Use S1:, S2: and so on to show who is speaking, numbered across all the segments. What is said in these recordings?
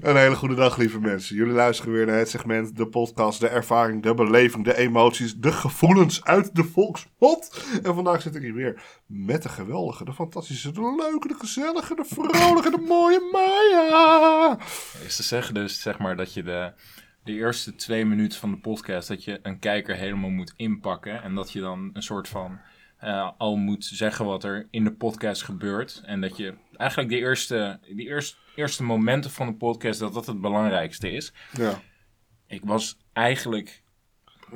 S1: Een hele goede dag, lieve mensen. Jullie luisteren weer naar het segment, de podcast, de ervaring, de beleving, de emoties, de gevoelens uit de volkspot. En vandaag zit ik hier weer met de geweldige, de fantastische, de leuke, de gezellige, de vrolijke, de mooie Maya.
S2: Is te zeggen dus, zeg maar, dat je de, de eerste twee minuten van de podcast... dat je een kijker helemaal moet inpakken. En dat je dan een soort van eh, al moet zeggen wat er in de podcast gebeurt. En dat je eigenlijk de eerste, die eerst, eerste momenten van de podcast... dat dat het belangrijkste is.
S1: Ja.
S2: Ik was eigenlijk...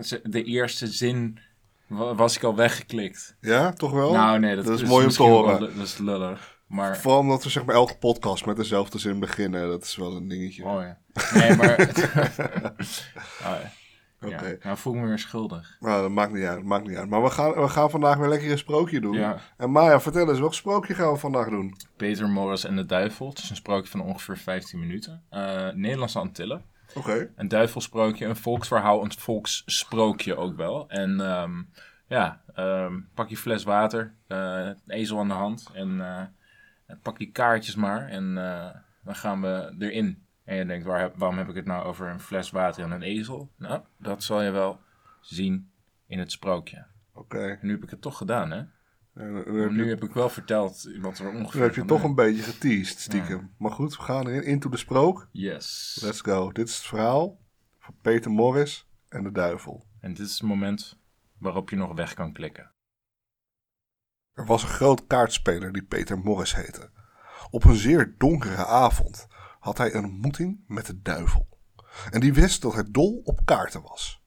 S2: ze- De eerste zin wa- was ik al weggeklikt.
S1: ja, toch wel?
S2: nou nee, dat,
S1: Oh, is, mooi om te
S2: misschien wel
S1: horen.
S2: lu- Dat is lullig. Maar...
S1: Vooral omdat we zeg maar elke podcast met dezelfde zin beginnen. Dat is wel een dingetje.
S2: Oh ja. Nee, maar... Ah, ja.
S1: Oké.
S2: Ja. Nou voel ik me weer schuldig.
S1: Nou, dat maakt niet uit, dat maakt niet uit. Maar we gaan, we gaan vandaag weer lekker een sprookje doen.
S2: Ja.
S1: En Maya, vertel eens, welk sprookje gaan we vandaag doen?
S2: Peter Morris en de Duivel. Het is een sprookje van ongeveer 15 minuten. Eh, Nederlandse Antillen.
S1: Oké.
S2: Een duivelsprookje, een volksverhaal, een volkssprookje ook wel. En ehm, ja, ehm, pak je fles water, eh, een ezel aan de hand en eh, pak die kaartjes maar en eh, dan gaan we erin. En je denkt, waar heb- waarom heb ik het nou over een fles water en een ezel? Nou, dat zal je wel zien in het sprookje.
S1: Oké.
S2: En nu heb ik het toch gedaan, hè?
S1: En dan heb je-
S2: Nu heb ik eh, wel verteld wat er ongeveer
S1: dan heb je
S2: gebeurt.
S1: toch een beetje geteased, stiekem. Maar goed, we gaan erin. Into de sprook.
S2: Yes.
S1: Let's go. Dit is het verhaal van Peter Morris en de duivel.
S2: En dit is het moment waarop je nog weg kan klikken.
S1: Er was een groot kaartspeler die Peter Morris heette. Op een zeer donkere avond had hij een ontmoeting met de duivel. En die wist dat hij dol op kaarten was.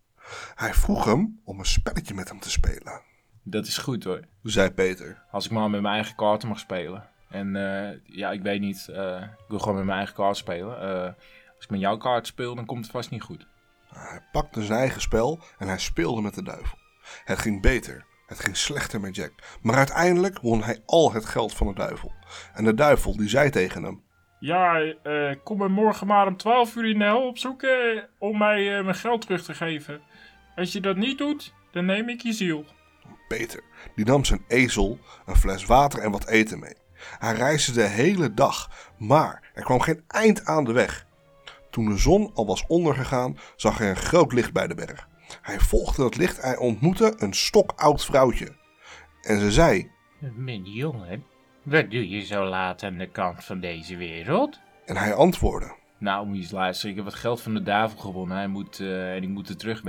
S1: Hij vroeg hem om een spelletje met hem te spelen,
S2: Dat is goed hoor.
S1: zei Peter.
S2: Als ik maar met mijn eigen kaarten mag spelen. En eh, ja, ik weet niet, eh, ik wil gewoon met mijn eigen kaart spelen. Eh, als ik met jouw kaart speel, dan komt het vast niet goed.
S1: Hij pakte zijn eigen spel en hij speelde met de duivel. Het ging beter, het ging slechter met Jack, maar uiteindelijk won hij al het geld van de duivel. En de duivel die zei tegen hem:
S3: Ja, eh, kom me morgen maar om 12 uur in de hel nou opzoeken om mij eh, mijn geld terug te geven. Als je dat niet doet, dan neem ik je ziel.
S1: Peter, die nam zijn ezel, een fles water en wat eten mee. Hij reisde de hele dag, maar er kwam geen eind aan de weg. Toen de zon al was ondergegaan, zag hij een groot licht bij de berg. Hij volgde dat licht en ontmoette een stokoud vrouwtje. En ze zei,
S4: Mijn jongen, wat doe je zo laat aan de kant van deze wereld?
S1: en hij antwoordde.
S2: Nou, moet je eens luisteren. Ik heb het geld van de duivel gewonnen. Hij moet, eh, en ik moet het terug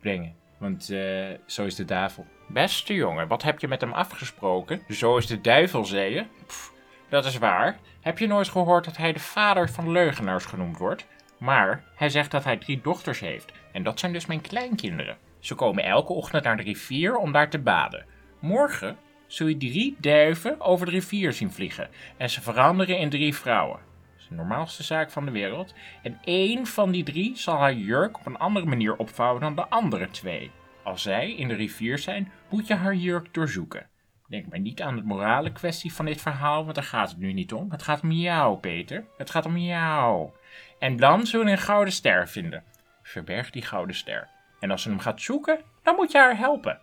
S2: brengen. Want eh, zo is de duivel.
S4: Beste jongen, wat heb je met hem afgesproken? Zo is de duivel, zei je? Pff, dat is waar. Heb je nooit gehoord dat hij de vader van leugenaars genoemd wordt? Maar hij zegt dat hij drie dochters heeft. En dat zijn dus mijn kleinkinderen. Ze komen elke ochtend naar de rivier om daar te baden. Morgen zul je drie duiven over de rivier zien vliegen. En ze veranderen in drie vrouwen. Dat is de normaalste zaak van de wereld. En één van die drie zal haar jurk op een andere manier opvouwen dan de andere twee. Als zij in de rivier zijn, moet je haar jurk doorzoeken. Denk maar niet aan de morale kwestie van dit verhaal, want daar gaat het nu niet om. Het gaat om jou, Peter. Het gaat om jou. En dan zul je een gouden ster vinden. Verberg die gouden ster. En als ze hem gaat zoeken, dan moet je haar helpen.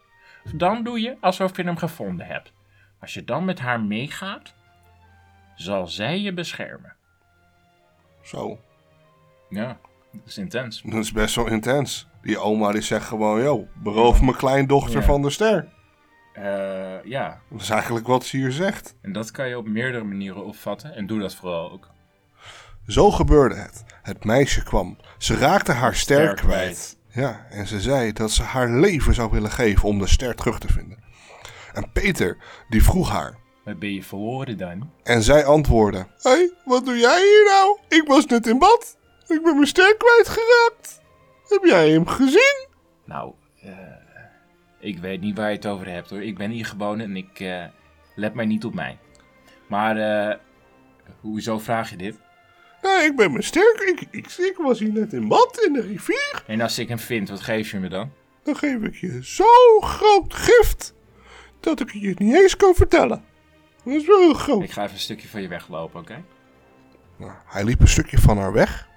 S4: Dan doe je alsof je hem gevonden hebt. Als je dan met haar meegaat, zal zij je beschermen.
S1: Zo,
S2: Ja, dat is intens.
S1: dat is best wel intens. Die oma die zegt gewoon, yo, beroof mijn kleindochter
S2: Ja.
S1: van de ster.
S2: Eh, ja,
S1: Dat is eigenlijk wat ze hier zegt.
S2: en dat kan je op meerdere manieren opvatten. En doe dat vooral ook.
S1: Zo gebeurde het. Het meisje kwam. Ze raakte haar ster,
S2: Ster
S1: kwijt.
S2: kwijt.
S1: Ja, en ze zei dat ze haar leven zou willen geven om de ster terug te vinden. En Peter, die vroeg haar.
S2: Wat ben je verloren dan?
S1: En zij antwoordde: Hé, wat doe jij hier nou? Ik was net in bad. Ik ben mijn ster kwijtgeraakt. Heb jij hem gezien?
S2: Nou, eh, ik weet niet waar je het over hebt hoor. Ik ben hier gewoon en ik eh, let mij niet op mij. Maar eh, hoezo vraag je dit?
S1: Nee, ik ben mijn ster. Ik, ik, ik was hier net in bad in de rivier.
S2: En als ik hem vind, wat geef je me dan?
S1: Dan geef ik je zo'n groot gift dat ik je het niet eens kan vertellen. Dat is wel heel groot.
S2: Ik ga even een stukje van je weglopen, oké?
S1: Nou, Hij liep een stukje van haar weg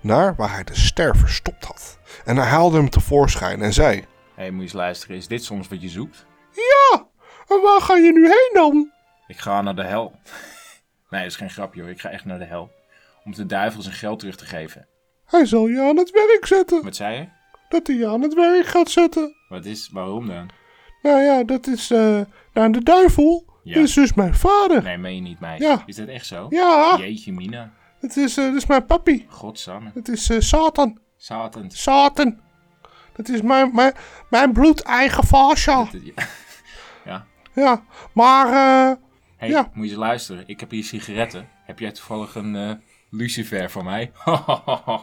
S1: naar waar hij de ster verstopt had. En hij haalde hem tevoorschijn en zei:
S2: Hé, moet je eens luisteren. Is dit soms wat je zoekt?
S1: Ja, en waar ga je nu heen dan?
S2: Ik ga naar de hel. nee, dat is geen grapje hoor. Ik ga echt naar de hel. om de duivel zijn geld terug te geven.
S1: Hij zal je aan het werk zetten.
S2: Wat zei je?
S1: Dat hij je aan het werk gaat zetten.
S2: Wat is, waarom dan?
S1: Nou ja, dat is. eh nou, de duivel
S2: Ja.
S1: is dus mijn vader.
S2: Nee, meen je niet, meisje.
S1: Ja.
S2: Is dat echt zo?
S1: Ja,
S2: Jeetje, Mina.
S1: het is, eh, dat is mijn papi.
S2: Godsamme.
S1: Het is eh, Satan.
S2: Satan.
S1: Satan. Dat is mijn, mijn, mijn bloedeigen fascia.
S2: Ja.
S1: Ja, maar. eh,
S2: Hey,
S1: Ja.
S2: moet je eens luisteren. Ik heb hier sigaretten. Heb jij toevallig een eh, lucifer voor mij?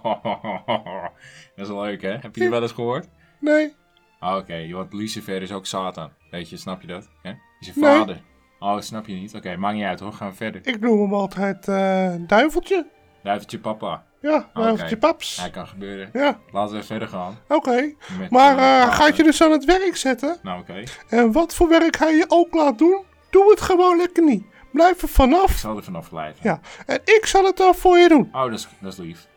S2: Dat is wel leuk, hè? Heb je die wel eens gehoord?
S1: nee.
S2: Ah, Oké, want Lucifer is ook Satan. Weet je, snap je dat? Hè? Hij is een
S1: Nee.
S2: vader. Oh, snap je niet? Oké, maakt niet uit hoor. Gaan we verder.
S1: Ik noem hem altijd eh, duiveltje.
S2: Duiveltje papa.
S1: Ja,
S2: Oké.
S1: duiveltje paps.
S2: Hij kan gebeuren.
S1: Ja,
S2: Laten we verder gaan.
S1: oké.
S2: met,
S1: Maar
S2: eh,
S1: eh,
S2: vader.
S1: gaat je dus aan het werk zetten.
S2: Nou, oké.
S1: En wat voor werk hij je ook laat doen, doe het gewoon lekker niet. Blijf er
S2: Ik
S1: vanaf.
S2: zal er vanaf blijven.
S1: Ja, en ik zal het dan voor je doen.
S2: Oh, dat is, dat is lief.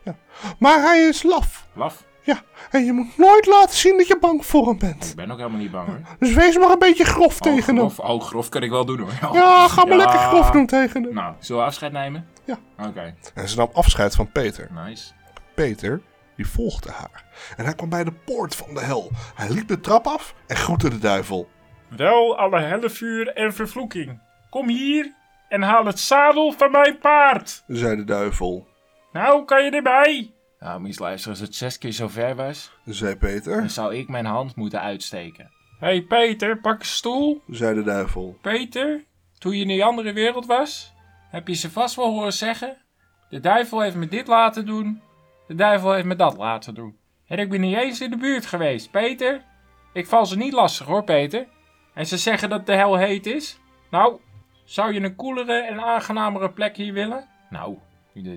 S1: Maar hij is laf.
S2: Laf.
S1: Ja, en je moet nooit laten zien dat je bang voor hem
S2: Ik
S1: bent.
S2: ben ook helemaal niet bang hoor.
S1: Dus wees maar een beetje grof
S2: Oh,
S1: tegen hem.
S2: grof, oh, grof kan ik wel doen hoor. Oh.
S1: Ja, ga maar
S2: Ja.
S1: lekker grof doen tegen hem.
S2: Nou, zullen we afscheid nemen?
S1: Ja.
S2: Oké,
S1: En ze nam afscheid van Peter.
S2: nice.
S1: Peter, die volgde haar. En hij kwam bij de poort van de hel. Hij liep de trap af en groette de duivel.
S3: Wel alle hellevuur en vervloeking. Kom hier en haal het zadel van mijn paard.
S1: Zei de duivel.
S3: Nou, kan je erbij?
S2: Nou, moet je eens luisteren. Als het zes keer zo ver was,
S1: Zei
S2: dan
S1: Peter.
S2: zou ik mijn hand moeten uitsteken.
S3: Hé hey Peter, pak een stoel.
S1: Zei de duivel.
S2: Peter, toen je in die andere wereld was, heb je ze vast wel horen zeggen. De duivel heeft me dit laten doen. De duivel heeft me dat laten doen. En ik ben niet eens in de buurt geweest, Peter. Ik val ze niet lastig hoor, Peter. En ze zeggen dat de hel heet is. Nou, zou je een koelere en aangenamere plek hier willen? Nou,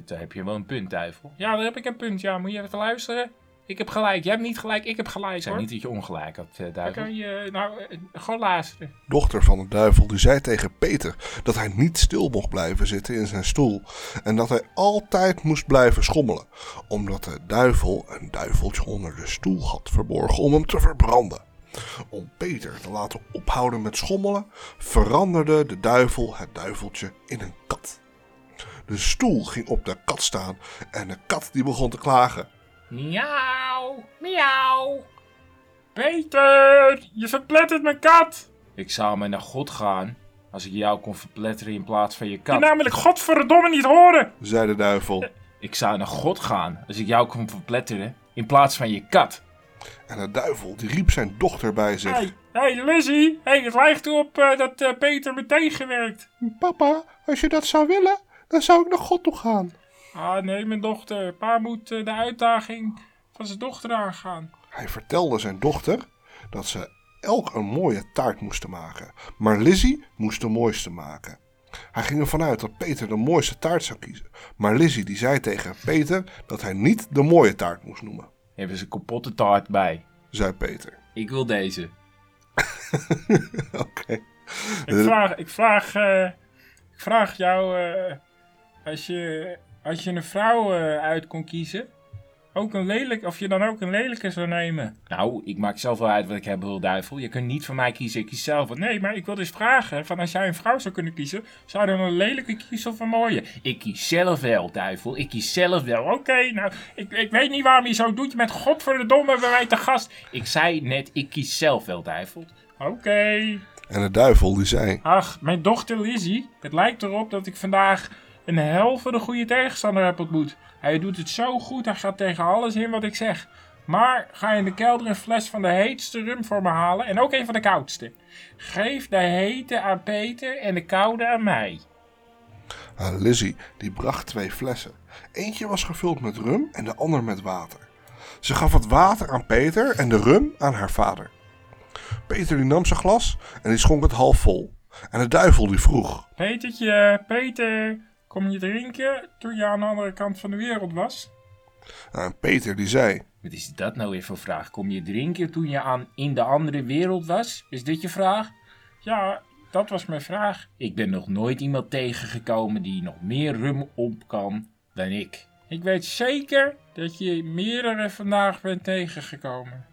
S2: daar heb je wel een punt, duivel.
S3: Ja, daar heb ik een punt. Ja, moet je even luisteren. Ik heb gelijk. Jij hebt niet gelijk. Ik heb gelijk, hoor.
S2: dat je ongelijk had,
S3: Dan
S2: duivel.
S3: kan je, nou, eh, gewoon luisteren.
S1: Dochter van de duivel die zei tegen Peter dat hij niet stil mocht blijven zitten in zijn stoel. En dat hij altijd moest blijven schommelen. Omdat de duivel een duiveltje onder de stoel had verborgen om hem te verbranden. Om Peter te laten ophouden met schommelen, veranderde de duivel het duiveltje in een kat. De stoel ging op de kat staan en de kat die begon te klagen.
S3: Miauw, miauw. Peter, je verplettert mijn kat.
S2: Ik zou mij naar God gaan als ik jou kon verpletteren in plaats van je
S3: Die
S2: kat.
S3: namelijk godverdomme niet horen.
S1: Zei de duivel.
S2: Ik zou naar God gaan als ik jou kon verpletteren in plaats van je kat.
S1: En de duivel die riep zijn dochter bij zich.
S3: Hé, hey, Lizzie, hey, het lijkt erop eh, dat eh, Peter me tegenwerkt.
S1: Papa, als je dat zou willen, dan zou ik naar God toe gaan.
S3: Ah nee, mijn dochter. Pa moet eh, de uitdaging van zijn dochter aangaan.
S1: Hij vertelde zijn dochter dat ze elk een mooie taart moesten maken. Maar Lizzie moest de mooiste maken. Hij ging ervan uit dat Peter de mooiste taart zou kiezen. Maar Lizzie die zei tegen Peter dat hij niet de mooie taart moest noemen,
S2: Hebben ze een kapotte taart bij.
S1: zei Peter.
S2: Ik wil deze.
S1: Oké.
S3: Ik vraag, ik vraag, eh, ik vraag jou, eh, als, je, als je een vrouw eh, uit kon kiezen, ook een lelijk, of je dan ook een lelijke zou nemen.
S2: Nou, ik maak zelf wel uit wat ik heb wil, duivel. Je kunt niet van mij kiezen, ik kies zelf.
S3: Want
S2: wat.
S3: nee, maar ik wil dus vragen, van als jij een vrouw zou kunnen kiezen, zou je dan een lelijke kiezen of een mooie?
S2: Ik kies zelf wel, duivel. Ik kies zelf wel.
S3: Oké, nou, ik, ik weet niet waarom je zo doet. Je bent godverdomme bij mij te gast.
S2: Ik zei net, ik kies zelf wel, duivel.
S3: Oké.
S1: En de duivel die zei,
S3: Ach, mijn dochter Lizzie. Het lijkt erop dat ik vandaag een hel van de goede tegenstander heb ontmoet. Hij doet het zo goed, hij gaat tegen alles in wat ik zeg. Maar ga in de kelder een fles van de heetste rum voor me halen en ook een van de koudste. Geef de hete aan Peter en de koude aan mij.
S1: Ah, Lizzie die bracht twee flessen. Eentje was gevuld met rum en de ander met water. Ze gaf het water aan Peter en de rum aan haar vader. Peter die nam zijn glas en die schonk het half vol. En de duivel die vroeg.
S3: Petertje, Peter, kom je drinken toen je aan de andere kant van de wereld was?
S1: Nou, En Peter die zei.
S2: Wat is dat nou weer voor vraag? Kom je drinken toen je aan in de andere wereld was? Is dit je vraag?
S3: Ja, dat was mijn vraag.
S2: Ik ben nog nooit iemand tegengekomen die nog meer rum op kan dan ik.
S3: Ik weet zeker dat je meerdere vandaag bent tegengekomen.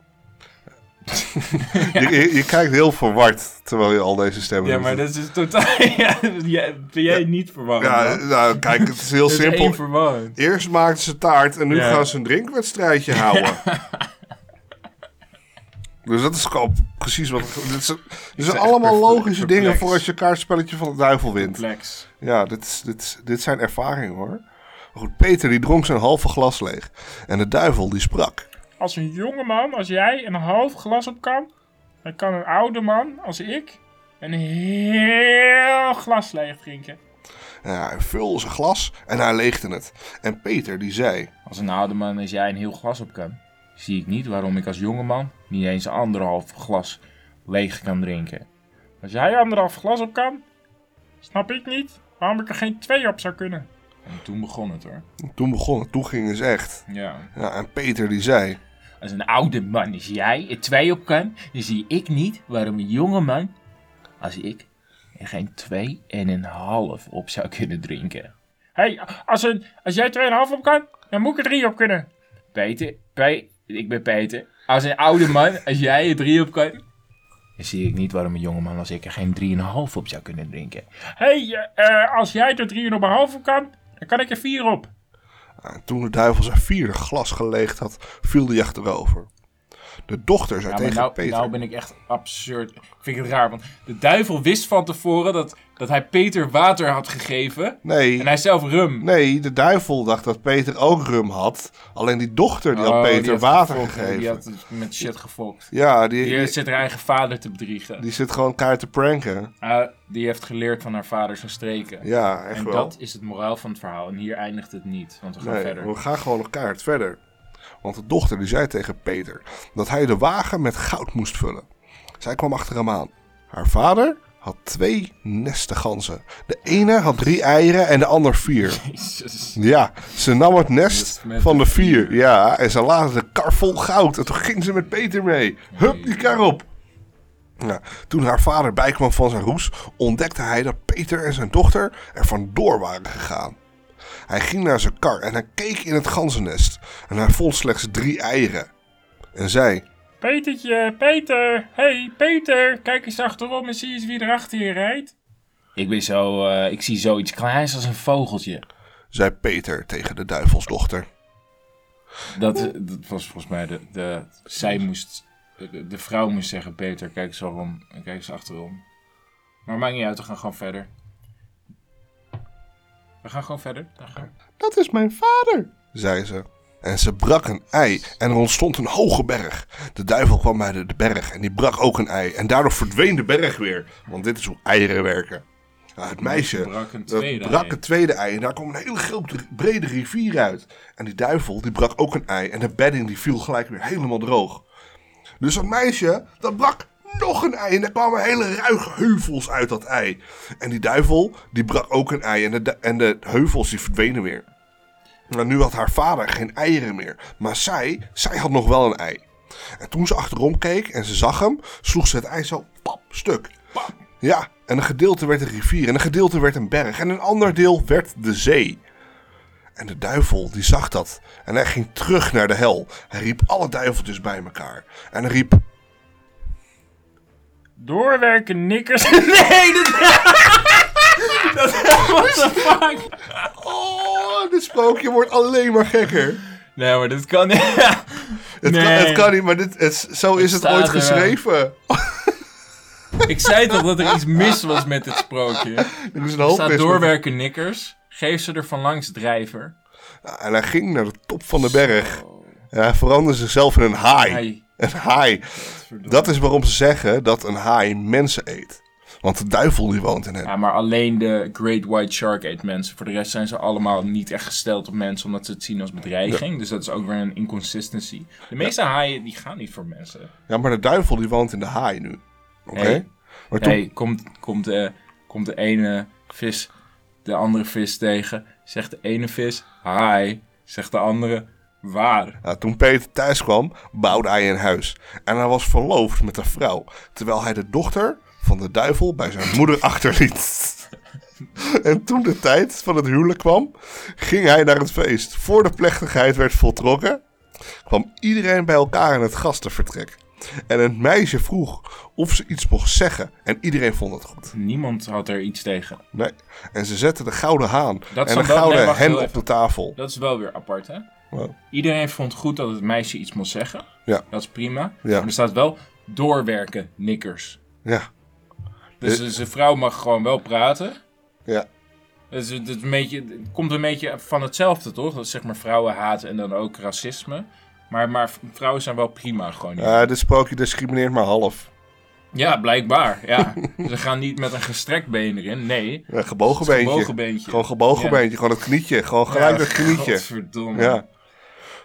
S1: Je, je, je kijkt heel verward terwijl je al deze stemmen
S3: Ja,
S1: doet.
S3: maar dat is totaal... ja, jij- ben jij niet verwarrend?
S1: Ja,
S3: man?
S1: nou, kijk, het is heel
S3: Het is
S1: simpel.
S3: één verwarrend.
S1: Eerst maakten ze taart en nu
S3: Ja.
S1: gaan ze een drinkwedstrijdje houden. Dus dat is gewoon precies wat... Dit zijn, dit zijn
S2: echt
S1: allemaal
S2: perplex-
S1: logische dingen voor
S2: perplex.
S1: als je kaartspelletje van de duivel wint.
S3: Complex.
S1: Ja, dit, is- dit, is- dit zijn ervaringen hoor. Maar goed, Peter die dronk zijn halve glas leeg. En de duivel die sprak.
S3: Als een jonge man als jij een half glas op kan, dan kan een oude man als ik een heel glas leeg drinken.
S1: Ja, hij vulde zijn glas en hij leegde het. En Peter die zei...
S2: Als een oude man als jij een heel glas op kan, zie ik niet waarom ik als jongeman niet eens anderhalf glas leeg kan drinken.
S3: Als jij anderhalf glas op kan, snap ik niet waarom ik er geen twee op zou kunnen.
S2: En toen begon het hoor.
S1: Toen begon het, toen ging het echt.
S2: Ja.
S1: Ja, en Peter die zei...
S2: Als een oude man als jij er twee op kan, dan zie ik niet waarom een jongeman als ik er geen twee en een half op zou kunnen drinken.
S3: Hé, hey, als, een- als jij 2,5 op kan, dan moet ik er drie op kunnen.
S2: Peter, Pe ik ben Peter. Als een oude man, als jij er drie op kan, dan zie ik niet waarom een jongeman als ik er geen drieënhalf op zou kunnen drinken.
S3: Hé, hey, eh, als jij er drie en op een half op kan, dan kan ik er vier op.
S1: Ja, en toen de duivel zijn vierde glas geleegd had, viel hij achterover. De dochter zei
S2: Ja, maar
S1: tegen
S2: nou,
S1: Peter...
S2: nou ben ik echt absurd. Ik vind het raar, want de duivel wist van tevoren dat, dat hij Peter water had gegeven.
S1: Nee,
S2: En hij zelf rum.
S1: nee, de duivel dacht dat Peter ook rum had. Alleen die dochter die
S2: Oh,
S1: had
S2: die
S1: Peter
S2: had
S1: water
S2: gefokt,
S1: gegeven.
S2: Die had het met shit gefokt.
S1: Ja, die,
S2: Die
S1: die,
S2: zit haar eigen vader te bedriegen.
S1: die zit gewoon kaart te pranken.
S2: Ah, die heeft geleerd van haar vader zijn streken.
S1: Ja, echt
S2: en
S1: wel.
S2: dat is het moraal van het verhaal. En hier eindigt het niet, want we gaan
S1: Nee,
S2: verder.
S1: we gaan gewoon een kaart verder. Want de dochter die zei tegen Peter dat hij de wagen met goud moest vullen. Zij kwam achter hem aan. Haar vader had twee nesten ganzen. De ene had drie eieren en de ander vier.
S2: Jezus.
S1: Ja, ze nam het nest
S2: Nest met
S1: van
S2: de
S1: de vier. Ja, en ze laadde de kar vol goud. En toen ging ze met Peter mee. Hup, die kar op. Ja, toen haar vader bijkwam van zijn roes, ontdekte hij dat Peter en zijn dochter er vandoor waren gegaan. Hij ging naar zijn kar en hij keek in het ganzennest. En hij vond slechts drie eieren. En zei,
S3: Petertje, Peter. hey, Peter. Kijk eens achterom en zie eens wie erachter je rijdt.
S2: Ik, ben zo, eh, ik zie zoiets kleins als een vogeltje.
S1: zei Peter tegen de duivelsdochter.
S2: Dat, dat was volgens mij de, de... Zij moest... De, de vrouw moest zeggen, Peter, kijk eens waarom. Kijk eens achterom. Maar maakt niet uit, we gaan gewoon verder. We gaan gewoon verder. Dan gaan we.
S1: Dat is mijn vader, zei ze. En ze brak een ei en er ontstond een hoge berg. De duivel kwam bij de de berg en die brak ook een ei. En daardoor verdween de berg weer, want dit is hoe eieren werken. Ja, het meisje
S2: brak een
S1: dat
S2: tweede
S1: brak
S2: ei.
S1: het tweede ei en daar kwam een hele grote brede rivier uit. En die duivel die brak ook een ei en de bedding die viel gelijk weer helemaal droog. Dus dat meisje, dat brak nog een ei. En er kwamen hele ruige heuvels uit dat ei. En die duivel, die brak ook een ei. En de, du- en de heuvels, die verdwenen weer. Maar nu had haar vader geen eieren meer. Maar zij, zij had nog wel een ei. En toen ze achterom keek en ze zag hem, sloeg ze het ei zo pap, stuk. Ja, en een gedeelte werd een rivier. En een gedeelte werd een berg. En een ander deel werd de zee. En de duivel die zag dat. En hij ging terug naar de hel. Hij riep alle duiveltjes bij elkaar. En hij riep...
S3: Doorwerken, nikkers. nee, dat...
S1: Oh, dit sprookje wordt alleen maar gekker.
S2: Nee, maar dat kan niet.
S1: Het, kan,
S3: Nee.
S1: het kan niet, maar dit, het, zo is het
S2: staat
S1: ooit
S2: er wel. Oh,
S1: geschreven.
S2: ik zei toch dat er iets mis was met dit sprookje.
S1: Er is een hoop
S2: staat
S1: mis met-
S2: doorwerken nikkers. Geef ze er van langs drijver.
S1: Ja, En hij ging naar de top van de berg. En hij veranderde zichzelf in een haai.
S2: Haai.
S1: Een haai. Dat is waarom ze zeggen dat een haai mensen eet. Want de duivel die woont in hem.
S2: Ja, maar alleen de Great White Shark eet mensen. Voor de rest zijn ze allemaal niet echt gesteld op mensen, omdat ze het zien als bedreiging. Dus dat is ook weer een inconsistency. De meeste haaien die gaan niet voor mensen.
S1: Ja, maar de duivel die woont in de haai nu. Oké?
S2: Hey.
S1: Maar toen...
S2: Nee, komt, komt, eh, komt de ene vis de andere vis tegen. Zegt de ene vis, hi. Zegt de andere, waar.
S1: Nou, toen Peter thuis kwam, bouwde hij een huis. En hij was verloofd met een vrouw. Terwijl hij de dochter van de duivel bij zijn moeder achterliet. En toen de tijd van het huwelijk kwam, ging hij naar het feest. Voor de plechtigheid werd voltrokken, kwam iedereen bij elkaar in het gastenvertrek. En het meisje vroeg of ze iets mocht zeggen. En iedereen vond het goed.
S2: Niemand had er iets tegen.
S1: Nee. En ze zetten de gouden haan
S2: Dat
S1: en
S2: zou
S1: de
S2: wel- nee,
S1: gouden
S2: wacht,
S1: hen
S2: heel
S1: op
S2: even.
S1: de tafel.
S2: Dat is wel weer apart, hè?
S1: Wow.
S2: Iedereen vond goed dat het meisje iets moest zeggen.
S1: Ja.
S2: Dat is prima.
S1: Ja.
S2: Maar er staat wel doorwerken, nikkers.
S1: Ja.
S2: Dus
S1: Eh.
S2: dus een vrouw mag gewoon wel praten.
S1: Ja.
S2: Het, is- het is een beetje, het komt een beetje van hetzelfde, toch? Dat is zeg maar vrouwenhaat en dan ook racisme. Maar, maar vrouwen zijn wel prima gewoon. hier.
S1: Eh dit sprookje discrimineert maar half.
S2: Ja, blijkbaar. Ja. Ze gaan niet met een gestrekt been erin. Nee.
S1: Ja, Eh, gebogen
S2: Het is
S1: beentje.
S2: gebogen beentje.
S1: Gewoon gebogen
S2: Ja.
S1: beentje. Gewoon het knietje. Gewoon gelijk het knietje.
S2: Godverdomme.
S1: Ja.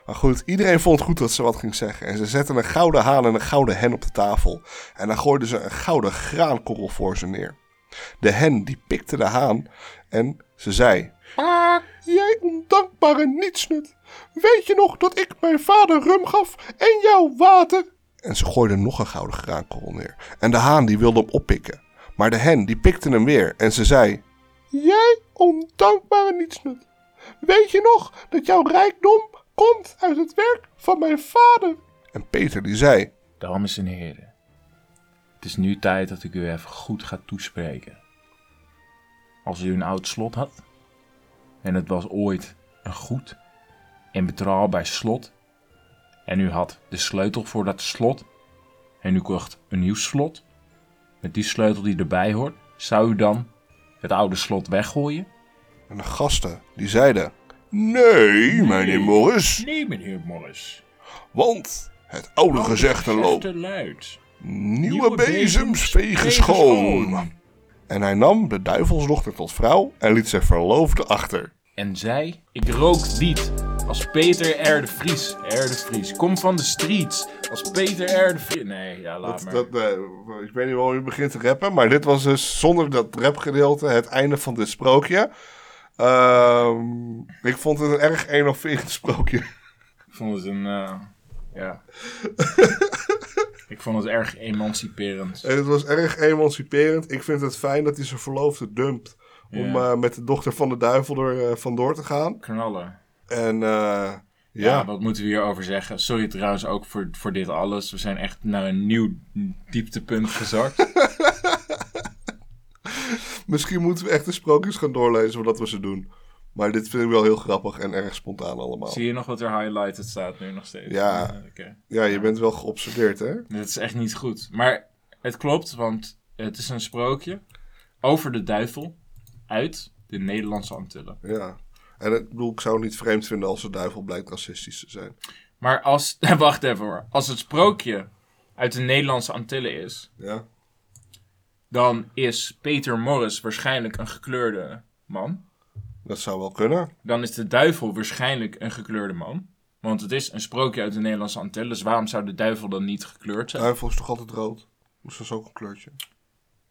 S1: Maar goed, iedereen vond goed dat ze wat ging zeggen. En ze zetten een gouden haan en een gouden hen op de tafel. En dan gooiden ze een gouden graankorrel voor ze neer. De hen die pikte de haan en ze zei... Ah, jij ondankbare nietsnut. Weet je nog dat ik mijn vader rum gaf en jou water? En ze gooide nog een gouden graankorrel neer. En de haan die wilde hem oppikken. Maar de hen die pikte hem weer en ze zei... Jij ondankbare nietsnut. Weet je nog dat jouw rijkdom komt uit het werk van mijn vader? En Peter die zei:
S2: Dames en heren, het is nu tijd dat ik u even goed ga toespreken. Als u een oud slot had, en het was ooit een goed en betrouwbaar slot, en u had de sleutel voor dat slot, en u kocht een nieuw slot, met die sleutel die erbij hoort, zou u dan het oude slot weggooien?
S1: En de gasten die zeiden: Nee, meneer Morris,
S3: Nee, meneer Morris.
S1: want het oude gezegde loopt.
S3: te luid.
S1: Nieuwe bezems vegen schoon. En hij nam de duivelsdochter tot vrouw en liet zijn verloofde achter.
S2: En zij, ik rook wiet als Peter R. de Vries. R. de Vries, kom van de streets als Peter R. de Vries. Nee, ja, laat
S1: Dat, dat,
S2: maar.
S1: eh, ik weet niet waarom je begint te rappen, maar dit was dus zonder dat rapgedeelte het einde van dit sprookje. Ehm, ik vond het een erg een of veerend sprookje.
S2: Ik vond het een, eh, ja. ik vond het erg emanciperend.
S1: En het was erg emanciperend. Ik vind het fijn dat hij zijn verloofde dumpt. Om
S2: Ja.
S1: eh, met de dochter van de duivel er eh, vandoor te gaan.
S2: Knallen.
S1: En eh, ja.
S2: Ja. wat moeten we hierover zeggen? Sorry trouwens ook voor, voor dit alles. We zijn echt naar een nieuw dieptepunt gezakt.
S1: misschien moeten we echt de sprookjes gaan doorlezen voordat we ze doen. Maar dit vind ik wel heel grappig en erg spontaan allemaal.
S2: Zie je nog wat er highlighted staat nu nog steeds?
S1: Ja.
S2: Eh, oké.
S1: Ja, je bent wel geobsedeerd, hè?
S2: Dat is echt niet goed. Maar het klopt, want het is een sprookje over de duivel uit de Nederlandse Antillen.
S1: Ja. En ik bedoel, ik zou het niet vreemd vinden als de duivel blijkt racistisch te zijn.
S2: Maar als, wacht even hoor, als het sprookje uit de Nederlandse Antillen is,
S1: Ja.
S2: dan is Peter Morris waarschijnlijk een gekleurde man.
S1: Dat zou wel kunnen.
S2: Dan is de duivel waarschijnlijk een gekleurde man. Want het is een sprookje uit de Nederlandse Antillen, dus waarom zou de duivel dan niet gekleurd zijn?
S1: Duivel is toch altijd rood? Dus dat is ook een kleurtje.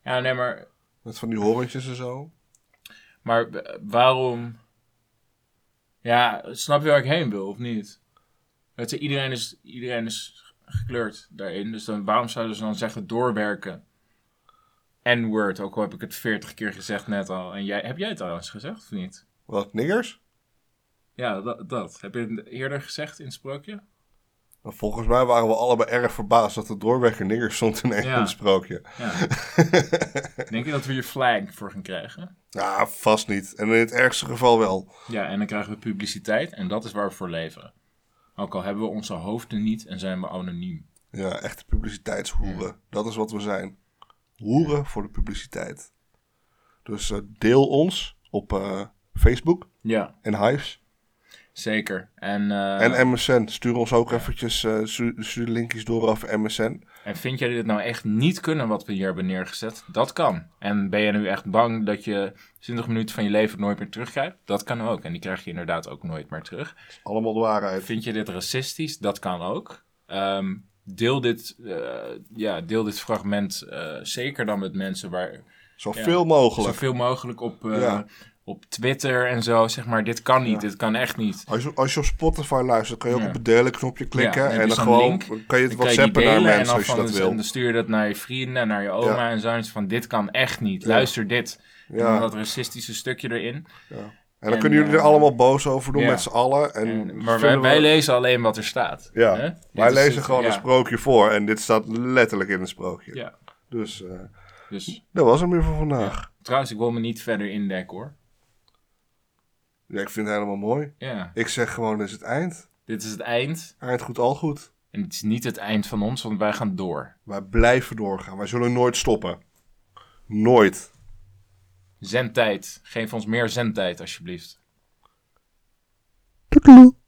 S2: Ja, nee, maar,
S1: Met van die horentjes en zo.
S2: maar eh, waarom... Ja, snap je waar ik heen wil, of niet? Het, iedereen, is, iedereen is gekleurd daarin, dus dan, waarom zouden ze dan zeggen doorwerken? N-word, ook al heb ik het veertig keer gezegd net al. En jij, heb jij het al eens gezegd, of niet?
S1: Wat, niggers?
S2: Ja, dat, dat. Heb je het eerder gezegd in het sprookje?
S1: Nou, volgens mij waren we allebei erg verbaasd dat de doorwerker niggers stond in een
S2: Ja.
S1: van de sprookje.
S2: Ja. Denk je dat we hier flag voor gaan krijgen?
S1: Ja, vast niet. En in het ergste geval wel.
S2: Ja, en dan krijgen we publiciteit en dat is waar we voor leven. Ook al hebben we onze hoofden niet en zijn we anoniem.
S1: Ja, echte publiciteitshoeren. Dat is wat we zijn. Hoeren voor de publiciteit. Dus eh, deel ons op eh, Facebook
S2: Ja,
S1: en Hives.
S2: zeker. En, eh, en,
S1: En MSN. Stuur ons ook eventjes eh, stu- stuur de linkjes door over MSN.
S2: vind jij dit nou echt niet kunnen wat we hier hebben neergezet? Dat kan. En ben je nu echt bang dat je 20 minuten van je leven nooit meer terugkrijgt? Dat kan ook. En die krijg je inderdaad ook nooit meer terug.
S1: Allemaal de waarheid.
S2: Vind je dit racistisch? Dat kan ook. Ehm, deel, dit, eh, ja, deel dit fragment eh, zeker dan met mensen waar
S1: Zoveel mogelijk.
S2: zoveel mogelijk op, eh,
S1: Ja.
S2: op Twitter en zo. Zeg maar, dit kan niet, dit kan echt niet.
S1: Als je, als je op Spotify luistert, kan je ook
S2: Ja.
S1: op het delen knopje klikken.
S2: Ja, dan heb
S1: en
S2: je
S1: dan
S2: zo'n
S1: gewoon
S2: link.
S1: kan je het
S2: Dan kan je die
S1: whatsappen naar
S2: delen en
S1: mensen
S2: dan
S1: als je
S2: van-
S1: dat wil.
S2: En dan stuur je dat naar je vrienden, en naar je oma en zo. En zo van, dit kan echt niet. Luister dit. En
S1: Ja.
S2: dan dat racistische stukje erin.
S1: Ja. En En dan
S2: En,
S1: kunnen jullie er
S2: eh,
S1: allemaal boos over doen
S2: ja.
S1: met z'n allen. En,
S2: En- maar wij,
S1: vullen
S2: wij
S1: we-
S2: lezen alleen wat er staat.
S1: Ja,
S2: hè? Dit
S1: wij
S2: is
S1: lezen
S2: het-
S1: gewoon
S2: ja.
S1: een sprookje voor. En dit staat letterlijk in een sprookje.
S2: Ja.
S1: Dus eh,
S2: Dus
S1: dat was hem weer voor vandaag.
S2: trouwens, ik wil me niet verder indekken hoor.
S1: Ja, ik vind het helemaal mooi.
S2: Ja,
S1: Ik zeg gewoon, dit is het eind.
S2: dit is het eind.
S1: Eind goed, al goed.
S2: En het is niet het eind van ons, want wij gaan door.
S1: Wij blijven doorgaan. Wij zullen nooit stoppen. Nooit.
S2: Zendtijd. Geef ons meer zendtijd, alsjeblieft.
S1: Toedeloe.